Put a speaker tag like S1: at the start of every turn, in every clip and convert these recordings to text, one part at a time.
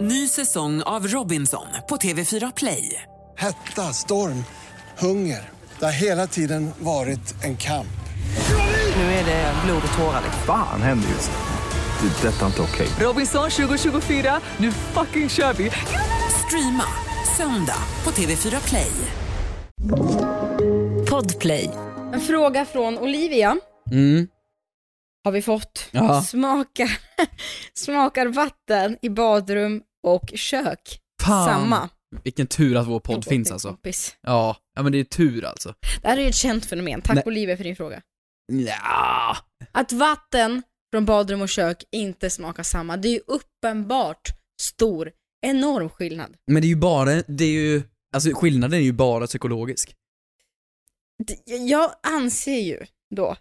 S1: Ny säsong av Robinson på TV4 Play.
S2: Hetta, storm, hunger. Det har hela tiden varit en kamp.
S1: Nu är det blod och tårar.
S3: Fan händer just nu. Det. är Detta är inte okej.
S1: Robinson 2024, nu fucking kör vi! Streama söndag på TV4 Play. Podplay.
S4: En fråga från Olivia har vi fått.
S5: Mm. Ja.
S4: Smakar, smakar vatten i badrum och kök
S5: Fan,
S4: samma?
S5: vilken tur att vår podd
S4: Robot,
S5: finns
S4: en
S5: alltså.
S4: Kompis.
S5: Ja, ja men det är tur alltså.
S4: Det här är ju ett känt fenomen. Tack
S5: Nej.
S4: Olivia för din fråga.
S5: Ja.
S4: Att vatten från badrum och kök inte smakar samma, det är ju uppenbart stor, enorm skillnad.
S5: Men det är ju bara, det är ju, alltså skillnaden är ju bara psykologisk.
S4: D- Jag anser ju då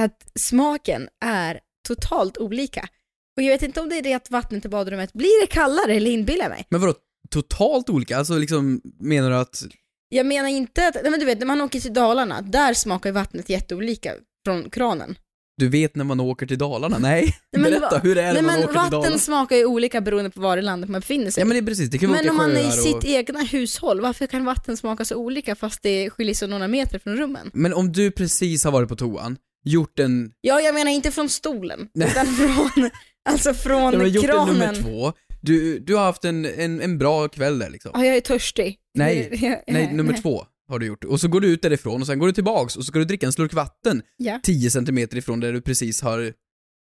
S4: att smaken är totalt olika. Och jag vet inte om det är det att vattnet i badrummet blir det kallare eller inbillar jag mig.
S5: Men vadå, totalt olika? Alltså liksom, menar du att,
S4: Jag menar inte att, nej men du vet när man åker till Dalarna, där smakar ju vattnet jätteolika från kranen.
S5: du vet när man åker till Dalarna? Nej,
S4: Nej, men
S5: berätta,
S4: va-
S5: hur är det
S4: Nej
S5: när man
S4: men
S5: åker till Dalarna?
S4: vatten smakar ju olika beroende på var i landet man befinner sig.
S5: Ja men det är precis, det kan vara
S4: men
S5: olika
S4: om man är
S5: sjöar
S4: i sitt
S5: och...
S4: egna hushåll, varför kan vatten smaka så olika fast det skiljer sig några meter från rummen?
S5: Men om du precis har varit på toan, gjort en,
S4: Ja, jag menar inte från stolen,
S5: Nej.
S4: utan från, alltså från
S5: ja, men gjort en
S4: kranen.
S5: nummer två, du, du har haft en, en, en bra kväll där liksom.
S4: Ja, jag är törstig.
S5: Nej,
S4: Det- jag-
S5: Nej, nummer två har du gjort. Och så går du ut därifrån och sen går du tillbaks och så ska du dricka en slurk vatten
S4: Ja.
S5: 10 centimeter ifrån där du precis har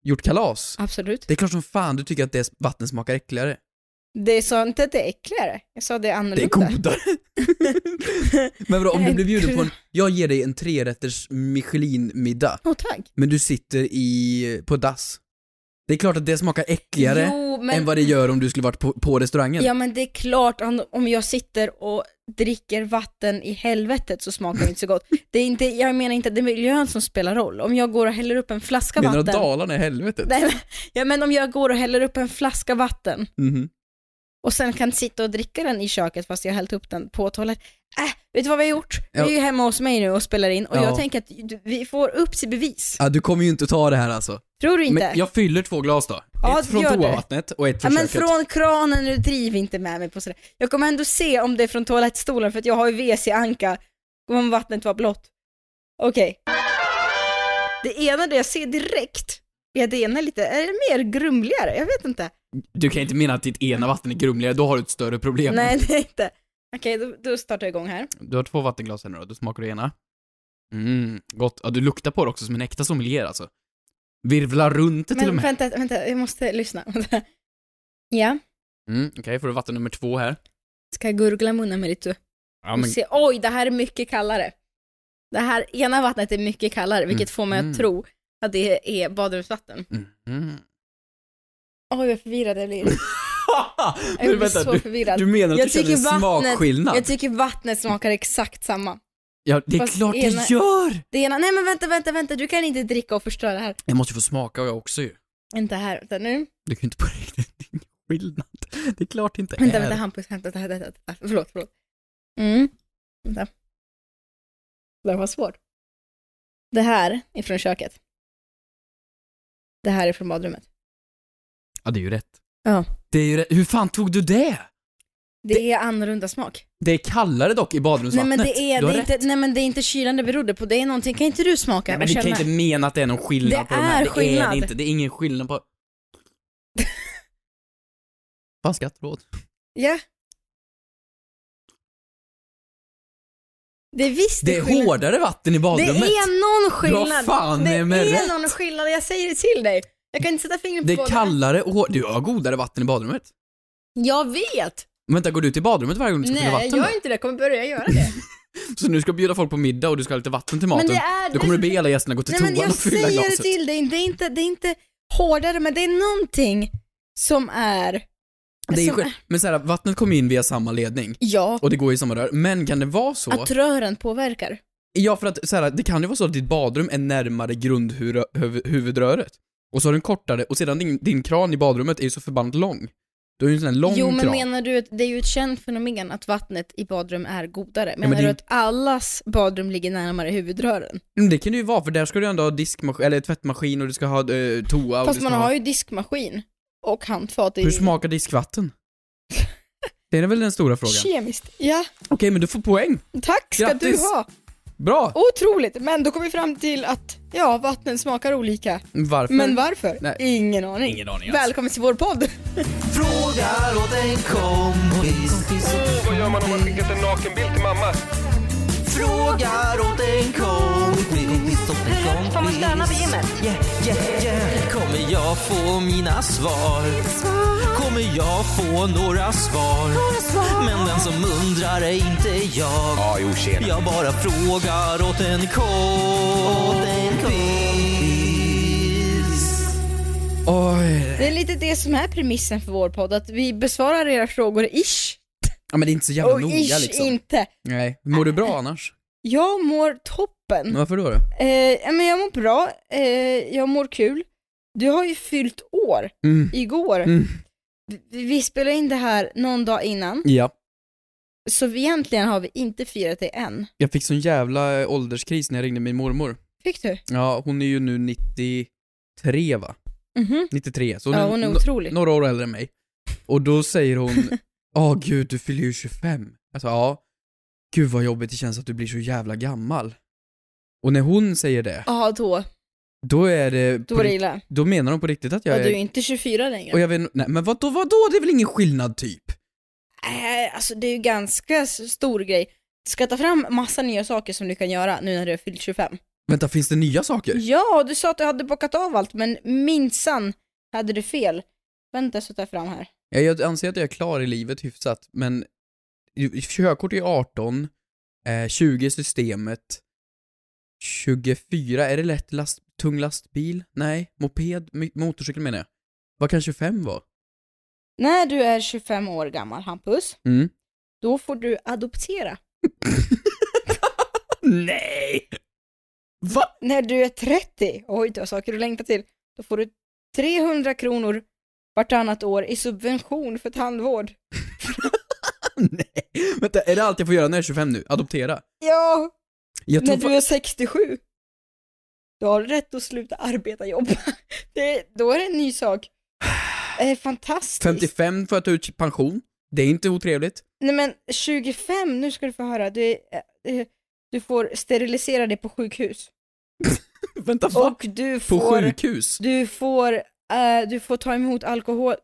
S5: gjort kalas.
S4: Absolut.
S5: Det är klart som fan du tycker att det vatten smakar äckligare.
S4: Det sa inte att det är äckligare, jag sa det är annorlunda.
S5: Det är godare. men vadå, om du blir bjuden på en, jag ger dig en trerätters Michelin-middag,
S4: Åh, tack.
S5: men du sitter i, på dass. Det är klart att det smakar äckligare
S4: Jo, men
S5: än vad det gör om du skulle varit på, på restaurangen.
S4: Ja men det är klart om- om jag sitter och dricker vatten i helvetet så smakar det inte så gott. Det är inte, jag menar inte att det är miljön som spelar roll. Om jag går och häller upp en flaska
S5: Menar du att
S4: vatten.
S5: Dalarna är helvetet?
S4: Nej, men- ja men om jag går och häller upp en flaska vatten
S5: Mhm.
S4: och sen kan sitta och dricka den i köket fast jag har hällt upp den på toaletten. Äh, vet du vad vi har gjort?
S5: Ja.
S4: Vi är ju hemma hos mig nu och spelar in och
S5: Ja.
S4: jag tänker att du- vi får upp till bevis.
S5: Ja, du kommer ju inte ta det här alltså.
S4: Tror du inte?
S5: Men jag fyller två glas då.
S4: Ja,
S5: ett från
S4: gör det.
S5: toavattnet och ett
S4: Ja,
S5: från
S4: men
S5: köket.
S4: från kranen, nu driv inte med mig på sådär. Jag kommer ändå se om det är från toalettstolen för att jag har ju WC-anka om vattnet var blått. Okej. Det ena det jag ser direkt, är det ena lite, är det mer grumligare? Jag vet inte.
S5: Du kan inte mena att ditt ena vatten är grumligare, då har du ett större problem.
S4: Nej, det är inte. Okej, då, då startar jag igång här.
S5: Du har två vattenglas här nu då, då smakar du ena. Mm, gott. Ja, du luktar på det också som en äkta sommelier alltså. Virvlar runt det till och
S4: Men
S5: med.
S4: vänta, vänta, jag måste lyssna. ja,
S5: Mm, Okej, får du vatten nummer två här.
S4: ska jag gurgla munnen med lite
S5: Ja,
S4: och
S5: men,
S4: se, oj, det här är mycket kallare. Det här ena vattnet är mycket kallare, vilket
S5: Mm.
S4: får mig
S5: Mm.
S4: att tro att det är badrumsvatten.
S5: mm, mm.
S4: Oj vad förvirrad jag blir. Jag
S5: men
S4: blir
S5: vänta,
S4: så
S5: du,
S4: förvirrad.
S5: du menar att
S4: Jag
S5: du känner en
S4: tycker vattnet-
S5: smakskillnad?
S4: Jag tycker vattnet smakar exakt samma.
S5: ja, det är
S4: fast
S5: klart
S4: ena-
S5: det gör!
S4: Det ena, nej men vänta, vänta, vänta, du kan inte dricka och förstöra det här.
S5: Jag måste ju få smaka jag också ju.
S4: Inte här, vänta nu.
S5: Du kan ju inte på riktigt, det är ingen skillnad. Det är klart det inte
S4: Vänta,
S5: är.
S4: vänta, Hampus, hämta det här, det här, det här. Förlåt, förlåt. Mm. Vänta. Det här var svårt. Det här är från köket. Det här är från badrummet.
S5: Ja, det är ju rätt.
S4: Ja.
S5: Det är ju rätt. Hur fan tog du det?
S4: Det är annorlunda smak.
S5: Det är kallare dock i
S4: Nej
S5: badrumsvattnet.
S4: men, det är,
S5: du
S4: det
S5: har
S4: är
S5: rätt.
S4: inte, nej men det är inte kylan det berodde på, det är någonting, kan inte du smaka
S5: Nej,
S4: och
S5: men du kan
S4: känna?
S5: inte mena att det är någon skillnad
S4: Det
S5: på de här.
S4: är
S5: det är
S4: skillnad.
S5: det inte. Det är ingen skillnad på... Fan skrattar du åt?
S4: Ja. Det är visst
S5: Det är
S4: skillnad.
S5: hårdare vatten i
S4: Det
S5: badrummet.
S4: är någon skillnad.
S5: Vad fan
S4: det
S5: är med rätt?
S4: är någon skillnad, jag säger det till dig. Jag kan inte sätta fingret på
S5: Det är
S4: vad
S5: kallare och hårdare. Du har godare vatten i badrummet.
S4: Jag vet!
S5: Men Vänta, går du till badrummet varje gång du ska
S4: Nej,
S5: fylla
S4: jag
S5: vatten
S4: gör inte det. Jag kommer börja göra det.
S5: då? Så nu ska du bjuda folk på middag och du ska ha lite vatten till maten.
S4: men det är... alltså,
S5: Då kommer du be alla gästerna gå till
S4: Nej, men
S5: toan
S4: jag
S5: och fylla
S4: säger det
S5: glaset.
S4: till dig. Det är, inte, det är inte hårdare, men det är någonting som är...
S5: Det är ju
S4: som
S5: skill- men såhär, vattnet kommer in via samma ledning
S4: Ja,
S5: och det går i samma rör. Men kan det vara så?
S4: att rören påverkar.
S5: Ja, för att så här, det kan ju vara så att ditt badrum är närmare grundhuvudröret. Och så har du en kortare, och sedan din, din kran i badrummet är ju så förbannat lång. Du har ju en sån här lång
S4: Jo, men
S5: kran.
S4: menar du att det är ju ett känt fenomen att vattnet i badrum är godare? Menar
S5: men det är
S4: du
S5: ju-
S4: att allas badrum ligger närmare huvudrören?
S5: Mm, det kan det ju vara, för där ska du ändå ha diskmaskin, eller tvättmaskin och du ska ha eh, toa och
S4: Fast
S5: du ska
S4: man
S5: ha...
S4: har ju diskmaskin. Och handfat är
S5: Hur
S4: ju
S5: smakar diskvatten? Det är väl den stora frågan. Okej,
S4: kemiskt. Ja,
S5: men du får poäng.
S4: tack ska
S5: Grattis.
S4: du ha.
S5: Bra!
S4: Oh, Otroligt, men då kom vi fram till att ja, vattnen smakar olika.
S5: Varför?
S4: Men varför?
S5: Nej.
S4: Ingen aning.
S5: Ingen aning alls.
S4: Välkommen till vår podd.
S6: Frågar åt en kompis.
S7: Vad gör man om man skickat en nakenbild till mamma?
S6: Frågar åt en kompis. Hur
S8: får man stöna på gymmet?
S6: Yeah, yeah, yeah. Kommer jag få mina svar? Kommer jag få några svar? Men den som undrar är inte jag.
S7: Ja, jo, tjena.
S6: Jag bara frågar åt en kompis.
S5: Oj.
S4: Det är lite det som är premissen för vår podd, att vi besvarar era frågor ish.
S5: Ja, men det är inte så jävla
S4: Och
S5: noga
S4: ish
S5: liksom.
S4: inte.
S5: Nej. Mår du bra annars?
S4: Jag mår toppen.
S5: Men Varför då? då?
S4: Eh, men jag mår bra, eh, jag mår kul. Du har ju fyllt år
S5: Mm.
S4: igår.
S5: Mm.
S4: Vi, vi spelade in det här någon dag innan,
S5: Ja.
S4: så vi egentligen har vi inte firat det än.
S5: Jag fick sån jävla eh, ålderskris när jag ringde min mormor.
S4: Fick du?
S5: Ja, hon är ju nu 93 va?
S4: Mhm.
S5: 93, så hon
S4: Ja,
S5: är
S4: hon är
S5: no-
S4: otrolig.
S5: några år äldre än mig. Och då säger hon, ja gud du fyller ju 25. Alltså ja, gud vad jobbigt det känns att du blir så jävla gammal. Och när hon säger det,
S4: Ja, då.
S5: då är det,
S4: Då
S5: på
S4: var det
S5: rikt-
S4: illa.
S5: då menar de på riktigt att
S4: Ja,
S5: jag
S4: du är
S5: är...
S4: inte 24 längre.
S5: Och jag vet, nej men vadå, vadå, det är väl ingen skillnad typ?
S4: Nej, alltså det är ju ganska s- stor grej. Ska ta fram massa nya saker som du kan göra nu när du har fyllt 25.
S5: Vänta, finns det nya saker?
S4: Ja, du sa att du hade bockat av allt, men minsann hade du fel. Vänta, så tar jag fram här.
S5: Jag, jag anser att jag är klar i livet hyfsat, men ju- körkort är 18, eh, 20 är systemet, 24, är det lätt last, tung lastbil? Nej, moped, mi- motorcykel menar jag. Vad kan 25 vara?
S4: När du är 25 år gammal, Hampus,
S5: Mm.
S4: då får du adoptera.
S5: Nej! Va?
S4: När du är 30, oj du har saker att längta till, då får du 300 kronor vartannat år i subvention för tandvård.
S5: Nej. Vänta, är det allt jag får göra när jag är 25 nu? Adoptera?
S4: Ja,
S5: Jag
S4: när
S5: tror
S4: du
S5: fa-
S4: är 67. Du har rätt att sluta arbeta jobba. Det, då är det en ny sak. Eh, fantastiskt.
S5: 55 får jag ta ut pension. Det är inte otrevligt.
S4: Nej men 25, nu ska du få höra. Du, är- eh, du får sterilisera dig på sjukhus.
S5: Vänta, va?
S4: Och du
S5: På
S4: får,
S5: sjukhus?
S4: du får, eh, du får ta emot alkohol,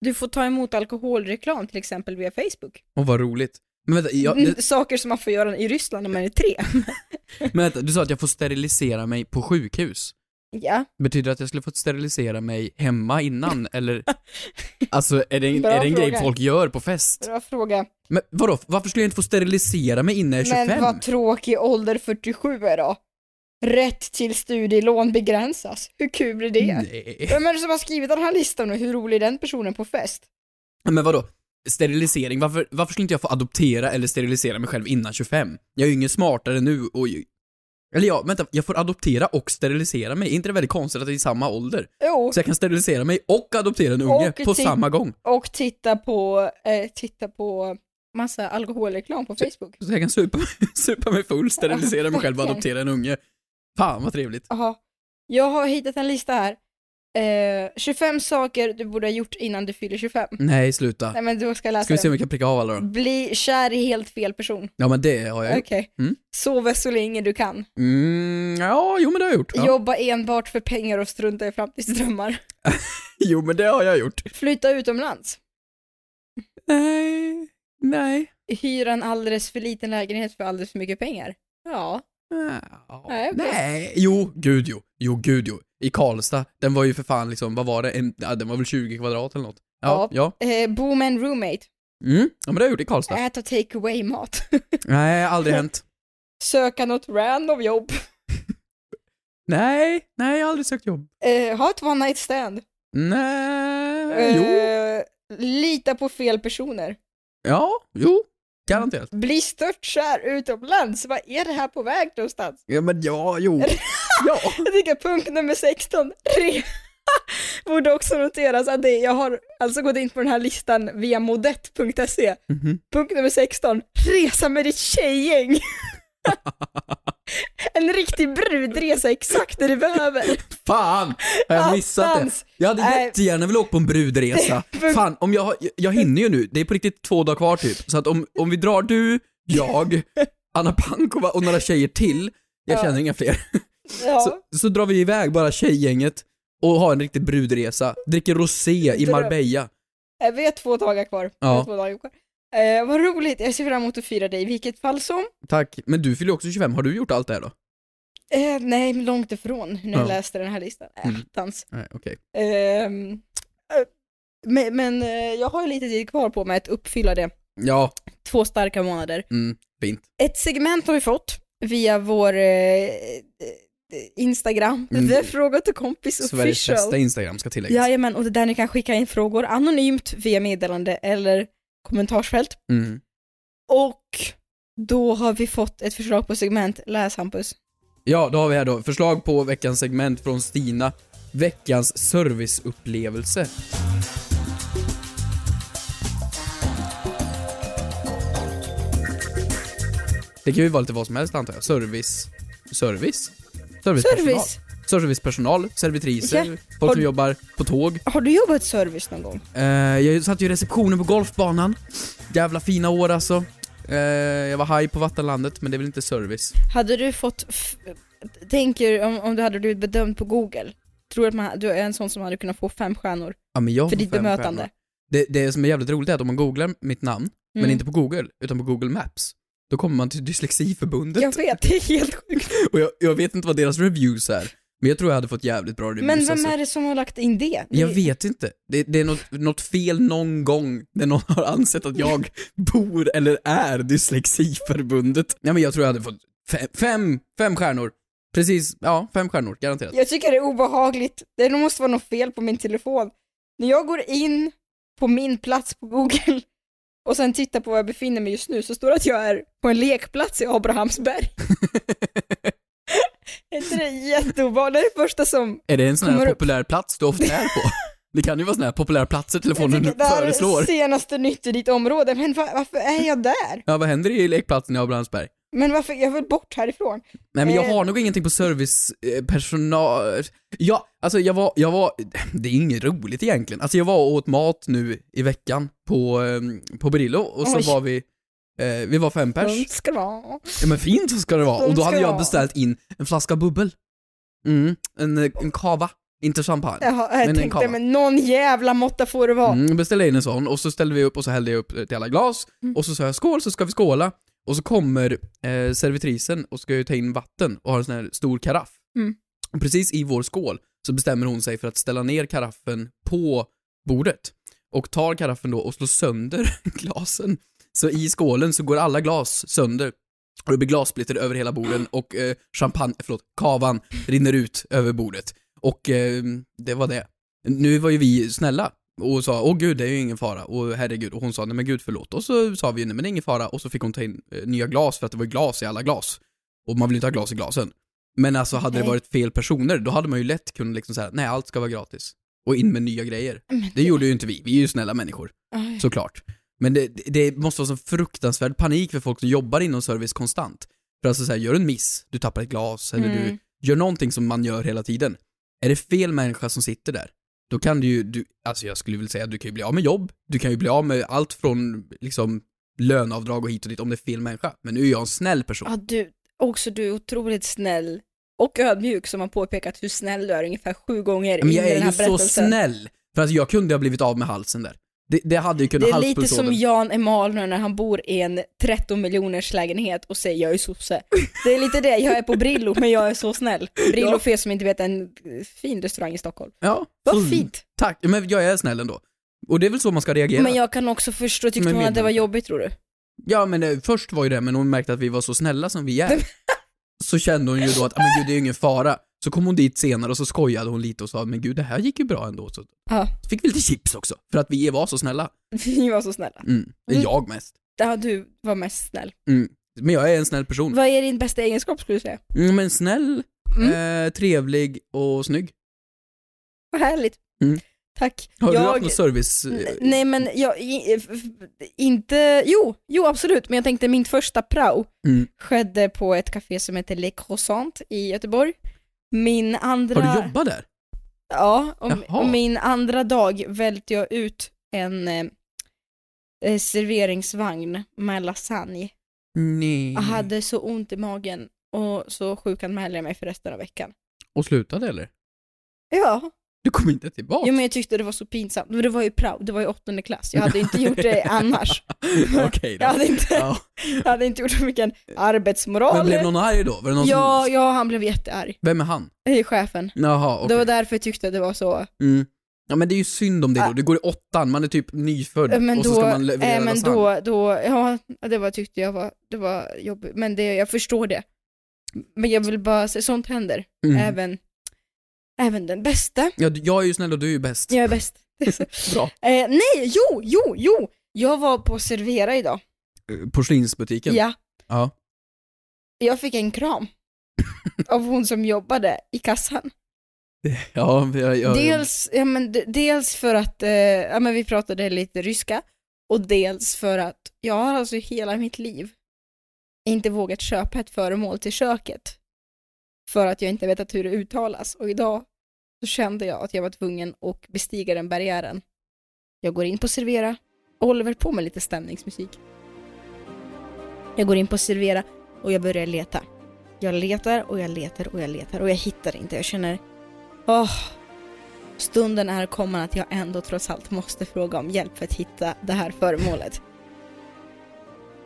S4: du får ta emot alkoholreklam till exempel via Facebook.
S5: Åh, vad roligt. Men vänta, jag,
S4: Mm, Saker som man får göra i Ryssland när man är tre.
S5: men vänta, du sa att jag får sterilisera mig på sjukhus.
S4: ja.
S5: Betyder det att jag skulle fått sterilisera mig hemma innan, eller? Alltså, är det en,
S4: Bra
S5: är det en grej
S4: fråga.
S5: folk gör på fest?
S4: Bra fråga.
S5: Men vadå, varför skulle jag inte få sterilisera mig innan jag är
S4: Men
S5: 25?
S4: vad tråkig ålder 47 är då. Rätt till studielån begränsas. Hur kul är det?
S5: Nej.
S4: Vem är det som har skrivit den här listan och hur rolig är den personen på fest?
S5: Men vadå, sterilisering, varför, varför skulle inte jag få adoptera eller sterilisera mig själv innan 25? Jag är ju ingen smartare nu och ju... Eller ja, vänta, jag får adoptera och sterilisera mig, är inte det väldigt konstigt att det är i samma ålder?
S4: Jo,
S5: Så jag kan sterilisera mig och adoptera en unge
S4: Och typ-
S5: på
S4: till-
S5: samma gång.
S4: och titta på, eh, titta på massa alkoholreklam på Facebook.
S5: Så jag kan supa, supa mig full, sterilisera mig själv och
S4: Fucking.
S5: adoptera en unge. Fan vad trevligt.
S4: Jaha, jag har hittat en lista här. Eh, 25 saker du borde ha gjort innan du fyller 25.
S5: Nej, alltså- sluta.
S4: Nej men då ska jag läsa
S5: Ah. Ska vi se om
S4: den.
S5: vi kan pricka av alla då?
S4: Bli kär i helt fel person.
S5: Ja men det har jag
S4: Okej.
S5: gjort. Mm.
S4: Sova så länge du kan.
S5: Mm, ja, jo men det har jag gjort. Ja.
S4: Jobba enbart för pengar och strunta i framtidsdrömmar.
S5: Jo men det har jag gjort.
S4: Flytta utomlands.
S5: Nej, nej.
S4: Hyra en alldeles för liten lägenhet för alldeles för mycket pengar. Ja.
S5: Ja.
S4: Nej, okej.
S5: Nej, jo, gud jo. Jo, gud jo. I Karlstad, den var ju för fan liksom, vad var det? En, ja, den var väl 20 kvadrat eller något? Ja. Ja.
S4: Eh, bo med en roommate.
S5: Mm. ja men det har jag gjort i Karlstad.
S4: Äta take away-mat.
S5: Nej, aldrig hänt.
S4: Söka något random jobb.
S5: Nej, nej, jag har aldrig sökt jobb.
S4: Eh, ha ett one night stand.
S5: Nej, jo.
S4: Eh, lita på fel personer.
S5: Ja, jo. Garanterat.
S4: Bli stört kär utomlands. Vad är det här på väg någonstans?
S5: Ja men ja, jo. Ja.
S4: Jag tycker punkt nummer 16, re. Borde också noteras att det, jag har alltså gått in på den här listan via modett.se.
S5: Mhm.
S4: Punkt nummer 16, resa med ditt tjejgäng. En riktig brudresa, exakt det du behöver.
S5: Fan! Har jag missat det?
S4: Attans.
S5: Jag hade
S4: Nej.
S5: jättegärna velat åka på en brudresa. Fan, om jag, jag hinner ju nu. Det är på riktigt två dagar kvar typ. Så att om, om vi drar du, jag, Anna Pankova och några tjejer till, jag
S4: Ja.
S5: känner inga fler,
S4: Ja.
S5: så, så drar vi iväg bara tjejgänget och har en riktig brudresa. Dricker rosé i
S4: Dröm.
S5: Marbella.
S4: Eh, Vi har två dagar kvar. Vi
S5: Ja.
S4: har Två dagar kvar. Eh, vad roligt, jag ser fram emot att fira dig i vilket fall som.
S5: Tack. Men du fyller ju också 25, har du gjort allt det här då?
S4: Eh, nej, men långt ifrån när jag
S5: Ja.
S4: läste den här listan. Äh,
S5: Mm.
S4: Attans.
S5: Nej, okej.
S4: Ehm, eh, men men eh, jag har ju lite tid kvar på mig att uppfylla det.
S5: Ja,
S4: Två starka månader.
S5: mm, fint.
S4: Ett segment har vi fått via vår eh, eh, Instagram,
S5: Mm.
S4: det är fråga till kompis
S5: Sveriges bästa
S4: official.
S5: Instagram ska tilläggas.
S4: Jajamän, och det är där ni kan skicka in frågor anonymt via meddelande eller kommentarsfält.
S5: Mm.
S4: Och då har vi fått ett förslag på segment, läs Hampus.
S5: Ja, då har vi här då. Förslag på veckans segment från Stina. Veckans serviceupplevelse. Det kan ju vara lite vad som helst antar jag. Service... Service? Servicepersonal.
S4: Service!
S5: Servicepersonal, servitriser,
S4: Ja.
S5: folk
S4: Har-
S5: som jobbar på tåg.
S4: Har du jobbat service någon gång?
S5: Eh, jag satt ju i receptionen på golfbanan. Jävla fina år alltså. Eh, jag var haj på vattenlandet, men det är väl inte service.
S4: Hade du fått, f- tänker om, om du hade blivit bedömd på google, tror du att man, du är en sån som hade kunnat få fem stjärnor
S5: Ja, men jag
S4: för
S5: får
S4: ditt
S5: fem
S4: bemötande?
S5: stjärnor. Det, det som är jävligt roligt är att om man googlar mitt namn, men
S4: Mm.
S5: inte på Google, utan på Google Maps, då kommer man till Dyslexiförbundet
S4: Jag vet, det är helt sjukt.
S5: och jag, jag vet inte vad deras reviews är, men jag tror jag hade fått jävligt bra reviews.
S4: Men vem
S5: alltså.
S4: är det som har lagt in det?
S5: Jag
S4: Det-
S5: vet inte. Det, det är något, något fel någon gång när någon har ansett att jag bor eller är Dyslexiförbundet. Nej men jag tror jag hade fått fem, fem, fem stjärnor. Precis, ja, fem stjärnor, garanterat.
S4: Jag tycker det är obehagligt. Det måste vara något fel på min telefon. När jag går in på min plats på Google och sen tittar på var jag befinner mig just nu så står det att jag är på en lekplats i Abrahamsberg. är inte det jätteobehagligt? Det är det första som...
S5: Är det en sån
S4: Kommer
S5: här
S4: upp.
S5: populär plats du ofta är på? Det kan ju vara såna här populära platser
S4: Jag
S5: telefonen
S4: tycker det här
S5: föreslår.
S4: är senaste nytt i ditt område, men va- varför är jag där?
S5: Ja, vad händer i lekplatsen i Abrahamsberg?
S4: Men varför, jag vill bort härifrån.
S5: Nej men jag
S4: Eh.
S5: har nog ingenting på servicepersonal... Ja, alltså jag var, jag var... Det är inget roligt egentligen. Alltså jag var och åt mat nu i veckan på, eh, på Brillo och så
S4: Oj.
S5: var vi... Eh, vi var fem pers.
S4: Sånt Ska det vara.
S5: Ja men fint så ska det vara.
S4: Sånt
S5: Och då
S4: ska
S5: hade
S4: det
S5: jag
S4: vara.
S5: beställt in en flaska bubbel. Mm, en, eh, en kava. Inte champagne.
S4: Jaha, jag
S5: Men en
S4: tänkte,
S5: kava.
S4: men någon jävla måtta får det vara.
S5: Mm, beställde in en sån och så ställde vi upp och så hällde jag upp eh, till alla glas och så sa jag skål så ska vi skåla och så kommer eh, servitrisen och ska ju ta in vatten och har en sån här stor karaff.
S4: Mm.
S5: Och precis i vår skål så bestämmer hon sig för att ställa ner karaffen på bordet och tar karaffen då och slår sönder glasen. Så i skålen så går alla glas sönder och det blir glassplitter över hela borden och eh, champagne, förlåt, kavan rinner ut över bordet. Och eh, det var det. Nu var ju vi snälla och sa åh gud, det är ju ingen fara och herregud och hon sa nej men gud förlåt och så sa vi nej men det är ingen fara och så fick hon ta in eh, nya glas för att det var glas i alla glas och man vill ju inte ha glas i glasen. Men alltså hade det
S4: Nej.
S5: varit fel personer då hade man ju lätt kunnat liksom säga nej allt ska vara gratis och in med nya grejer. Det gjorde ju inte vi, vi är ju snälla människor
S4: Aj.
S5: såklart. Men det, det måste vara så fruktansvärd panik för folk som jobbar inom service konstant. För alltså såhär, gör du en miss, du tappar ett glas eller
S4: Mm.
S5: du gör någonting som man gör hela tiden. Är det fel människa som sitter där, då kan du ju, du, alltså jag skulle vilja säga att du kan ju bli av med jobb, du kan ju bli av med allt från liksom löneavdrag och hit och dit om det är fel människa. Men nu är jag en snäll person.
S4: Ja, du, också du är otroligt snäll och ödmjuk som har påpekat hur snäll du är ungefär sju gånger
S5: Men
S4: in
S5: jag
S4: i den
S5: är
S4: här
S5: ju så
S4: berättelsen.
S5: snäll! För alltså jag kunde ha blivit av med halsen där. Det, det hade ju kunnat
S4: det är lite som
S5: halspulsådern.
S4: Jan Emanuel när han bor i en 13 miljoners lägenhet och säger jag är sosse. Det är lite det, jag är på Brillo men jag är så snäll. Brillo
S5: Ja.
S4: för er som inte vet är en fin restaurang i Stockholm.
S5: Ja,
S4: Vad
S5: fin.
S4: fint!
S5: Tack, men jag är snäll ändå. Och det är väl så man ska reagera?
S4: Men jag kan också förstå, tyckte
S5: Men
S4: hon att det var
S5: medmänniska.
S4: jobbigt tror du?
S5: Ja men eh, först var ju det, men hon märkte att vi var så snälla som vi är. Så kände hon ju då att, "Ah, men gud det är ju ingen fara. Så kom hon dit senare och så skojade hon lite och sa, men gud det här gick ju bra ändå. Så
S4: Ja,
S5: fick vi lite chips också, för att vi var så snälla.
S4: vi var så snälla.
S5: Mm. Det är
S4: Mm.
S5: jag mest.
S4: Ja, du var mest snäll.
S5: Mm. Men jag är en snäll person.
S4: Vad är din bästa egenskap skulle du säga?
S5: Mm, men snäll,
S4: Mm.
S5: eh, trevlig och snygg.
S4: Vad härligt.
S5: Mm.
S4: Tack.
S5: Har du haft
S4: jag...
S5: någon service? eh,
S4: N- Nej men jag, i- f- f- inte, jo, jo absolut, men jag tänkte min första prao
S5: Mm.
S4: skedde på ett café som heter Le Croissant i Göteborg. Min andra...
S5: Har du jobbat där?
S4: Ja, och,
S5: Jaha.
S4: och min andra dag välte jag ut en eh, eh, serveringsvagn med lasagne.
S5: Nej.
S4: Jag hade så ont i magen och så sjukanmälde jag mig för resten av veckan.
S5: Och slutade eller?
S4: Ja,
S5: Du kom inte tillbaka?
S4: jo, men jag tyckte det var så pinsamt. Men det var ju prao, det var ju åttonde klass. Jag hade inte gjort det annars.
S5: Okej då.
S4: Jag hade inte,
S5: Ja.
S4: jag hade inte gjort så mycket arbetsmoral.
S5: Men blev någon arg då? Var det någon
S4: ja,
S5: som...
S4: ja, han blev jättearg.
S5: Vem är han?
S4: Det är chefen.
S5: Jaha, okej.
S4: Det var därför jag tyckte det var så.
S5: Mm. Ja men det är ju synd om det då,
S4: Ah.
S5: du går i åttan, man är typ nyfödd
S4: Äh, Men
S5: och
S4: då,
S5: så ska man leverera
S4: äh, men
S5: lasagne.
S4: då, då, ja, det var, tyckte jag var, det var jobbigt. Men det, jag förstår det. Men jag vill bara säga, sånt händer.
S5: Mm.
S4: Även, även den bästa.
S5: Ja, du- jag är ju snäll och du är ju bäst.
S4: Jag är bäst.
S5: Bra.
S4: Eh, nej, jo, jo, jo! Jag var på Servera idag.
S5: Eh, Porslinsbutiken.
S4: Ja.
S5: Ja.
S4: Jag fick en kram. av hon som jobbade i kassan.
S5: Ja, jag, jag,
S4: Dels, ja, men, d- dels för att eh, ja, men vi pratade lite ryska och dels för att jag har alltså hela mitt liv inte vågat köpa ett föremål till köket för att jag inte vetat hur det uttalas och idag så kände jag att jag var tvungen att bestiga den barriären. Jag går in på Servera och håller väl på med lite stämningsmusik. Jag går in på Servera och jag börjar leta. Jag letar och jag letar och jag letar och jag hittar inte. Jag känner, åh, Stunden är kommen att jag ändå trots allt måste fråga om hjälp för att hitta det här föremålet.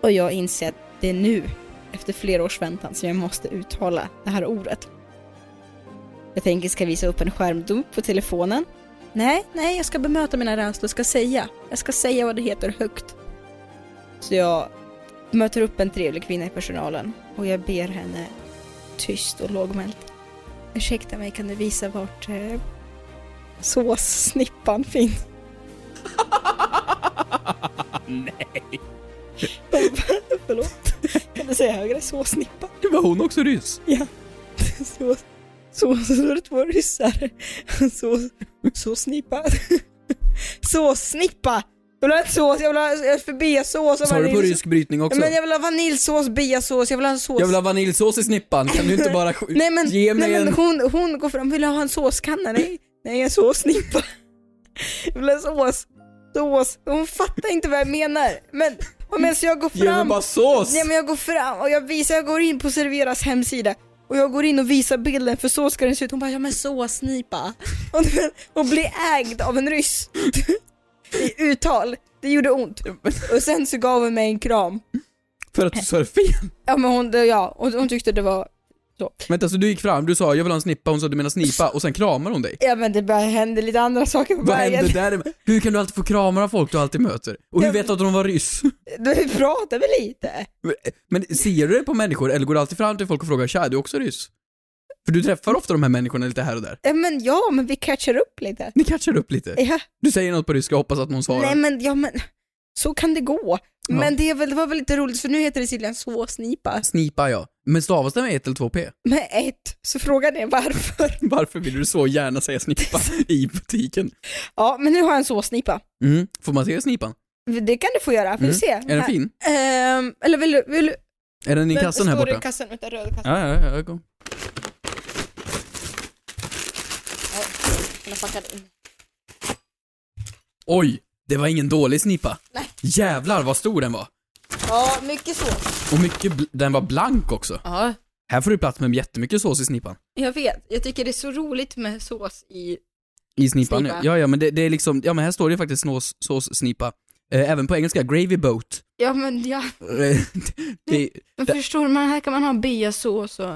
S4: Och jag inser att det är nu, efter flera års väntan, som jag måste uttala det här ordet. Jag tänker, ska jag visa upp en skärmdump på telefonen? Nej, nej, jag ska bemöta mina rädslor, jag ska säga. Jag ska säga vad det heter högt. Så jag möter upp en trevlig kvinna i personalen och jag ber henne tyst och lågmält. Ursäkta mig, kan du visa vart eh, såssnippan finns. Nej. Förlåt. Kan du säga högre? Såssnippa.
S5: Det var hon också ryss?
S4: Sås. Sås. Så är det två ryssar. Sås. Såssnippa. Såssnippa. Jag vill ha ett sås, jag vill ha jag vill ha biasås och
S5: Sa du på
S4: vaniljsås.
S5: rysk brytning också?
S4: Men jag vill ha vaniljsås, biasås, jag vill ha en sås.
S5: Jag vill ha vaniljsås i snippan, kan du inte bara sk-
S4: Nej men,
S5: ge mig
S4: nej, men
S5: en...
S4: hon, hon går fram, vill jag ha en såskanna? Nej, nej en såssnippa. Jag vill ha sås. Sås. Hon fattar inte vad jag menar. Men, och medan jag går
S5: Ge mig
S4: fram,
S5: bara sås!
S4: nej men jag går fram och jag visar, jag går in på Serveras hemsida och jag går in och visar bilden för så ska den se ut. Hon bara, ja men såsnipa. Och, och blir ägd av en ryss. I uttal. Det gjorde ont. Och sen så gav hon mig en kram.
S5: För att du sa det fel!
S4: Ja men hon, ja, och hon tyckte det var
S5: Vänta, så alltså, du gick fram, du sa jag vill ha en snippa, hon sa du menar snipa, och sen kramar hon dig?
S4: Ja men det bara hände lite andra saker på
S5: Vad
S4: vägen.
S5: hände där? Hur kan du alltid få kramar av folk du alltid möter? Och hur
S4: Jag-
S5: vet du att de var ryss?
S4: Du pratar väl lite?
S5: Men ser du det på människor, eller går du alltid fram till folk och frågar tja, är du också ryss? För du träffar ofta de här människorna lite här och där.
S4: Ja men ja, men vi catchar upp lite.
S5: Ni catchar upp lite.
S4: Ja.
S5: Du säger något på ryska och hoppas att någon svarar.
S4: Eh. Nej men, ja men, så kan det gå. Men
S5: Ja.
S4: det, är väl, det var väl lite roligt för nu heter det tydligen såsnipa.
S5: Snipa ja. Men stavas det med ett eller två p?
S4: Med ett, så frågan är varför.
S5: Varför vill du så gärna säga snipa i butiken?
S4: Ja men nu har jag en såsnipa.
S5: Mm. Får man se snipan?
S4: Det kan du få göra, får
S5: Mm.
S4: vi se.
S5: Är den fin?
S4: Ehm, eller vill du, vill du?
S5: Är den i
S4: men
S5: kassan här
S4: står det
S5: borta?
S4: i kassan, vänta, röda kassan.
S5: Ja, ja, ja, gå.
S4: Den har packat in.
S5: Oj! Det var ingen dålig snipa.
S4: Nej.
S5: Jävlar vad stor den var.
S4: Ja, mycket sås.
S5: Och mycket, bl- den var blank också.
S4: Ja,
S5: Här får du plats med jättemycket sås i snippan.
S4: jag vet. Jag tycker det är så roligt med sås i
S5: I snipan
S4: Snipa.
S5: ja. Ja, men det, det är liksom, ja men här står det faktiskt snås, sås, snipa. Eh, även på engelska, gravy boat.
S4: Ja men ja,
S5: Eh, det,
S4: men
S5: Det-
S4: förstår du, man, här kan man ha biasås och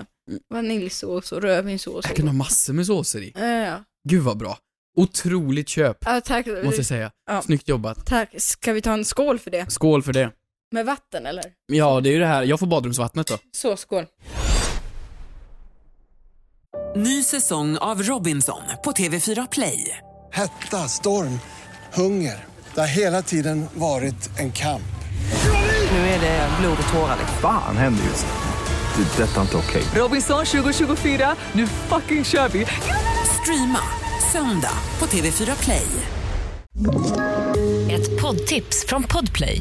S4: vaniljsås och rödvinssås.
S5: jag
S4: och-
S5: kan ha massor med såser i.
S4: Ja, ja.
S5: Gud vad bra. Otroligt köp,
S4: ja, tack.
S5: måste jag säga.
S4: Ja.
S5: Snyggt jobbat.
S4: Tack. Ska vi ta en skål för det?
S5: Skål för det.
S4: Med vatten eller?
S5: Ja, det är ju det här, jag får badrumsvattnet då.
S4: Så, skål.
S1: Ny säsong av Robinson på TV4 Play.
S2: Hetta, storm, hunger. Det har hela tiden varit en kamp.
S1: Nu är det blod och tårar.
S3: Fan händer just nu. Det. är Detta är inte okej.
S1: Robinson 2024, nu fucking kör vi! Streama Söndag på TV4 Play.
S8: Ett poddtips från Podplay.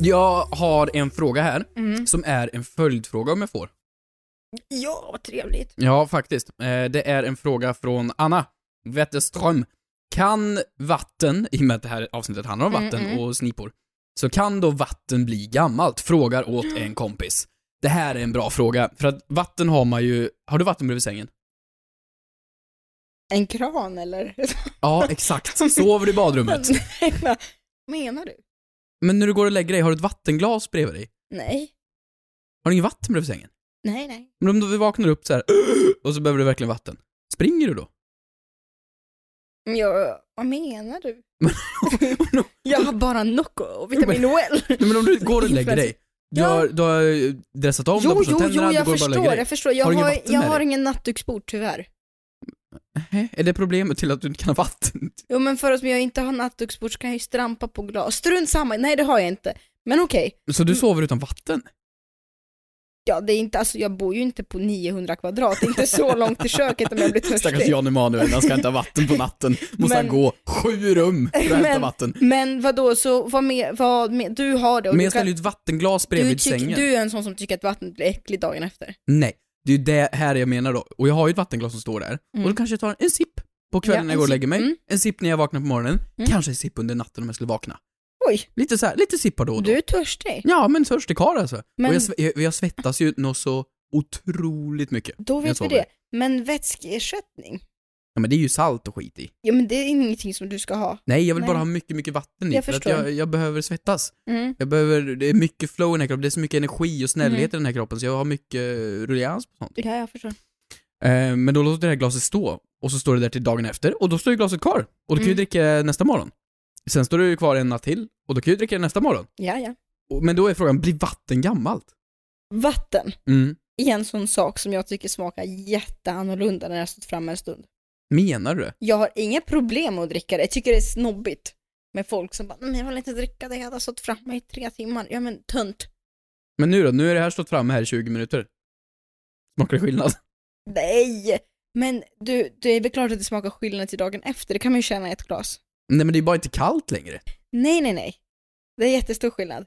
S5: Jag har en fråga här,
S4: Mm.
S5: som är en följdfråga om jag får.
S4: Ja, vad trevligt.
S5: Ja, faktiskt. Eh, Det är en fråga från Anna Wetterström. Kan vatten, i och med att det här avsnittet handlar
S4: Mm,
S5: om vatten och snipor, så kan då vatten bli gammalt? Frågar åt en kompis. Det här är en bra fråga, för att vatten har man ju... Har du vatten bredvid sängen?
S4: En kran eller?
S5: Ja, exakt. Sover du i badrummet?
S4: Nej, men- Menar du?
S5: Men när du går och lägger dig, har du ett vattenglas bredvid dig?
S4: Nej,
S5: Har du inget vatten bredvid sängen?
S4: nej, nej.
S5: Men om du vaknar upp så här och så behöver du verkligen vatten. Springer du då?
S4: Men Jag, vad menar du? Jag har bara Nocco och vitamin OL.
S5: Nej men om du går och lägger dig, du
S4: Ja.
S5: har, du har dressat om, du har
S4: Jo,
S5: borstat
S4: jo, jo,
S5: tänderna, du
S4: jag
S5: går och bara och lägger
S4: förstår,
S5: dig.
S4: jag förstår. Jag
S5: Har
S4: har,
S5: du inget
S4: har,
S5: vatten
S4: jag
S5: med
S4: har
S5: dig?
S4: ingen nattduksbord tyvärr.
S5: Hä? Är det problemet till att du inte kan ha vatten?
S4: Jo men för att jag inte har nattduksbord så kan jag ju strampa på glas. Strunt samma, nej det har jag inte. Men okej,
S5: Så
S4: Mm.
S5: du sover utan vatten?
S4: ja det är inte, alltså jag bor ju inte på 900 kvadrat, det är inte så långt till köket om jag blir
S5: Stackars
S4: törstig.
S5: Jan Emanuel, han ska inte ha vatten på natten. Måste
S4: Men-
S5: han gå sju rum för att hämta vatten.
S4: men vadå, så vad med, vad med, du har det och
S5: Men
S4: du
S5: jag ställer ju ett vattenglas
S4: du,
S5: bredvid
S4: tyck,
S5: sängen.
S4: du är en sån som tycker att vattnet blir äckligt dagen efter.
S5: Nej, det är ju det här jag menar då. Och jag har ju ett vattenglas som står där.
S4: Mm.
S5: Och då kanske jag tar en sipp på kvällen
S4: Ja, en
S5: när jag går och
S4: sipp.
S5: lägger mig.
S4: Mm.
S5: En sipp när jag vaknar på morgonen.
S4: Mm.
S5: Kanske en sipp under natten om jag skulle vakna.
S4: Oj,
S5: Lite så här, lite sippar då och då.
S4: du är törstig.
S5: Ja, men törstig karl alltså.
S4: Men-
S5: Och jag, sve- jag, jag svettas ju något så otroligt mycket.
S4: Då
S5: när jag
S4: vet vi
S5: sover.
S4: det. Men vätskeersättning?
S5: Ja, men det är ju salt och skit i.
S4: Ja men det är ingenting som du ska ha.
S5: Nej, jag vill
S4: Nej.
S5: bara ha mycket, mycket vatten i.
S4: Jag
S5: för att
S4: förstår.
S5: jag, jag behöver svettas.
S4: Mm.
S5: Jag behöver, det är mycket flow i den här kroppen, det är så mycket energi och snällhet i
S4: Mm.
S5: den här kroppen så jag har mycket eh, ruljans på sånt.
S4: Ja, jag förstår.
S5: Eh, men då låter det här glaset stå, och så står det där till dagen efter, och då står ju glaset kvar. Och då kan jag ju
S4: Mm.
S5: dricka det nästa morgon. Sen står det ju kvar en natt till, och då kan jag ju dricka det nästa morgon.
S4: Ja, ja.
S5: Och, men då är frågan, blir vatten gammalt?
S4: Vatten
S5: Mm.
S4: är en sån sak som jag tycker smakar jätteannorlunda när jag har stått framme en stund.
S5: Menar du det?
S4: Jag har inga problem med att dricka det, jag tycker det är snobbigt med folk som bara "Nej, jag vill inte dricka det, jag har stått framme i tre timmar. Ja men tönt.
S5: Men nu då, nu är det här stått framme här i 20 minuter. Smakar det skillnad?
S4: Nej! Men du, det är väl klart att det smakar skillnad till dagen efter, det kan man ju känna i ett glas.
S5: Nej men det är bara inte kallt längre.
S4: Nej, nej, nej. Det är jättestor skillnad.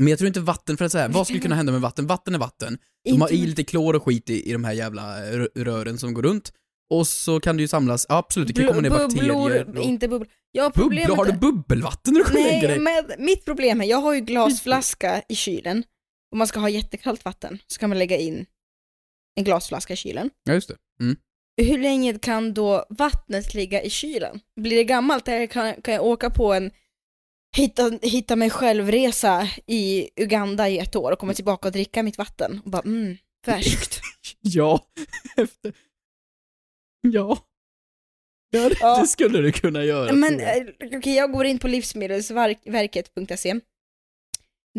S5: Men jag tror inte vatten, för att säga, vad skulle kunna hända med vatten? Vatten är vatten. De
S4: Inte
S5: har i
S4: med-
S5: lite klor och skit i, i de här jävla eh, rö- rören som går runt. Och så kan det ju samlas, ja, absolut, det kan ju komma ner
S4: Bubblor,
S5: bakterier. Och...
S4: inte bubblor. Jag har problem
S5: Bubblor, har du bubbelvatten när du går och lägger
S4: Nej,
S5: dig?
S4: men mitt problem är, jag har ju glasflaska i kylen och man ska ha jättekallt vatten, så kan man lägga in en glasflaska i kylen.
S5: Ja, just det. Mm.
S4: Hur länge kan då vattnet ligga i kylen? Blir det gammalt eller kan, kan jag åka på en hitta, hitta mig självresa i Uganda i ett år och komma tillbaka och dricka mitt vatten och bara mm, färskt.
S5: Ja, efter... Ja. Ja, det,
S4: Ja.
S5: det skulle du kunna göra.
S4: Men
S5: tror jag.
S4: eh, okej, jag går in på livsmedelsverket.se.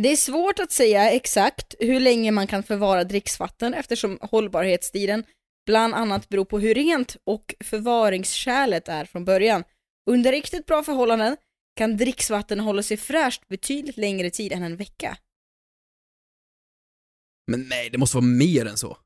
S4: Det är svårt att säga exakt hur länge man kan förvara dricksvatten eftersom hållbarhetstiden bland annat beror på hur rent och förvaringskärlet är från början. Under riktigt bra förhållanden kan dricksvatten hålla sig fräscht betydligt längre tid än en vecka.
S5: men nej, det måste vara mer än så.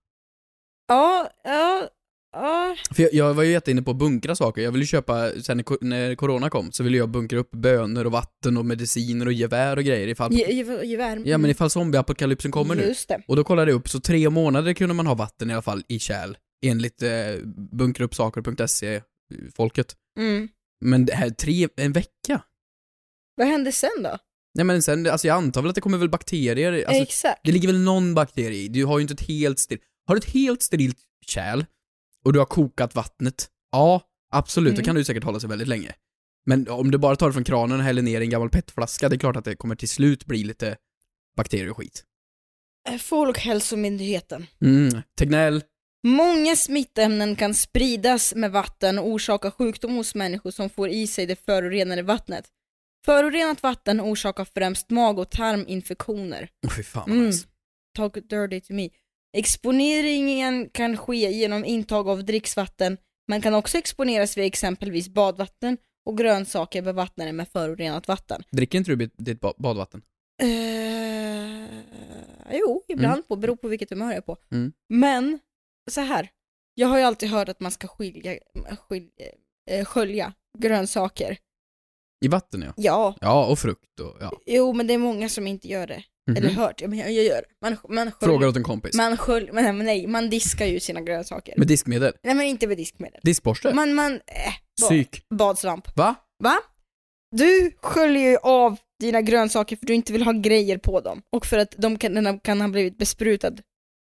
S4: Ja, ja, ja.
S5: För jag, jag var ju jätteinne på att bunkra saker. Jag ville ju köpa, sen när, ko- när corona kom, så ville jag bunkra upp bönor och vatten och mediciner och gevär och grejer ifall...
S4: Ge- ge- Gevär.
S5: Ja men ifall zombieapokalypsen kommer nu.
S4: Just det.
S5: Och då kollade jag upp, så tre månader kunde man ha vatten i alla fall i kärl. Enligt eh, bunkeruppsaker.se-folket.
S4: Mm.
S5: eh, Men det här, tre, en vecka?
S4: Vad hände sen då?
S5: Nej men sen, alltså jag antar väl att det kommer väl bakterier, alltså,
S4: exakt.
S5: det ligger väl någon bakterie i. Du har ju inte ett helt sterilt, har du ett helt sterilt kärl och du har kokat vattnet, ja absolut,
S4: Mm.
S5: då kan du säkert hålla sig väldigt länge. Men om du bara tar det från kranen och häller ner i en gammal petflaska, det är klart att det kommer till slut bli lite bakterier och skit.
S4: Eh, Folkhälsomyndigheten.
S5: Mm. Tegnell.
S4: Många smittämnen kan spridas med vatten och orsaka sjukdom hos människor som får i sig det förorenade vattnet. Förorenat vatten orsakar främst mag och tarminfektioner.
S5: Åh fy fan vad
S4: Mm.
S5: nice.
S4: Talk dirty to me. Exponeringen kan ske genom intag av dricksvatten, men kan också exponeras vid exempelvis badvatten och grönsaker bevattnade med förorenat vatten.
S5: Dricker inte du bit- ditt ba- badvatten?
S4: Eh, jo, ibland på, beror på vilket humör jag är på.
S5: Mm.
S4: Men så här, jag har ju alltid hört att man ska skilja, skilja, eh, skölja grönsaker.
S5: I vatten ja.
S4: Ja,
S5: Ja, och frukt och ja.
S4: jo men det är många som inte gör det.
S5: Mhm.
S4: Eller hört, ja, men jag, jag gör det. Man, man
S5: Frågar
S4: sköljer,
S5: åt en kompis.
S4: man sköljer, men nej, men nej, man diskar ju sina grönsaker.
S5: Med diskmedel?
S4: Nej men inte med diskmedel.
S5: Diskborste?
S4: Man, man, eh, bad,
S5: Psyk.
S4: badsvamp.
S5: Va?
S4: Va? Du sköljer ju av dina grönsaker för du inte vill ha grejer på dem och för att de kan, den kan ha blivit besprutad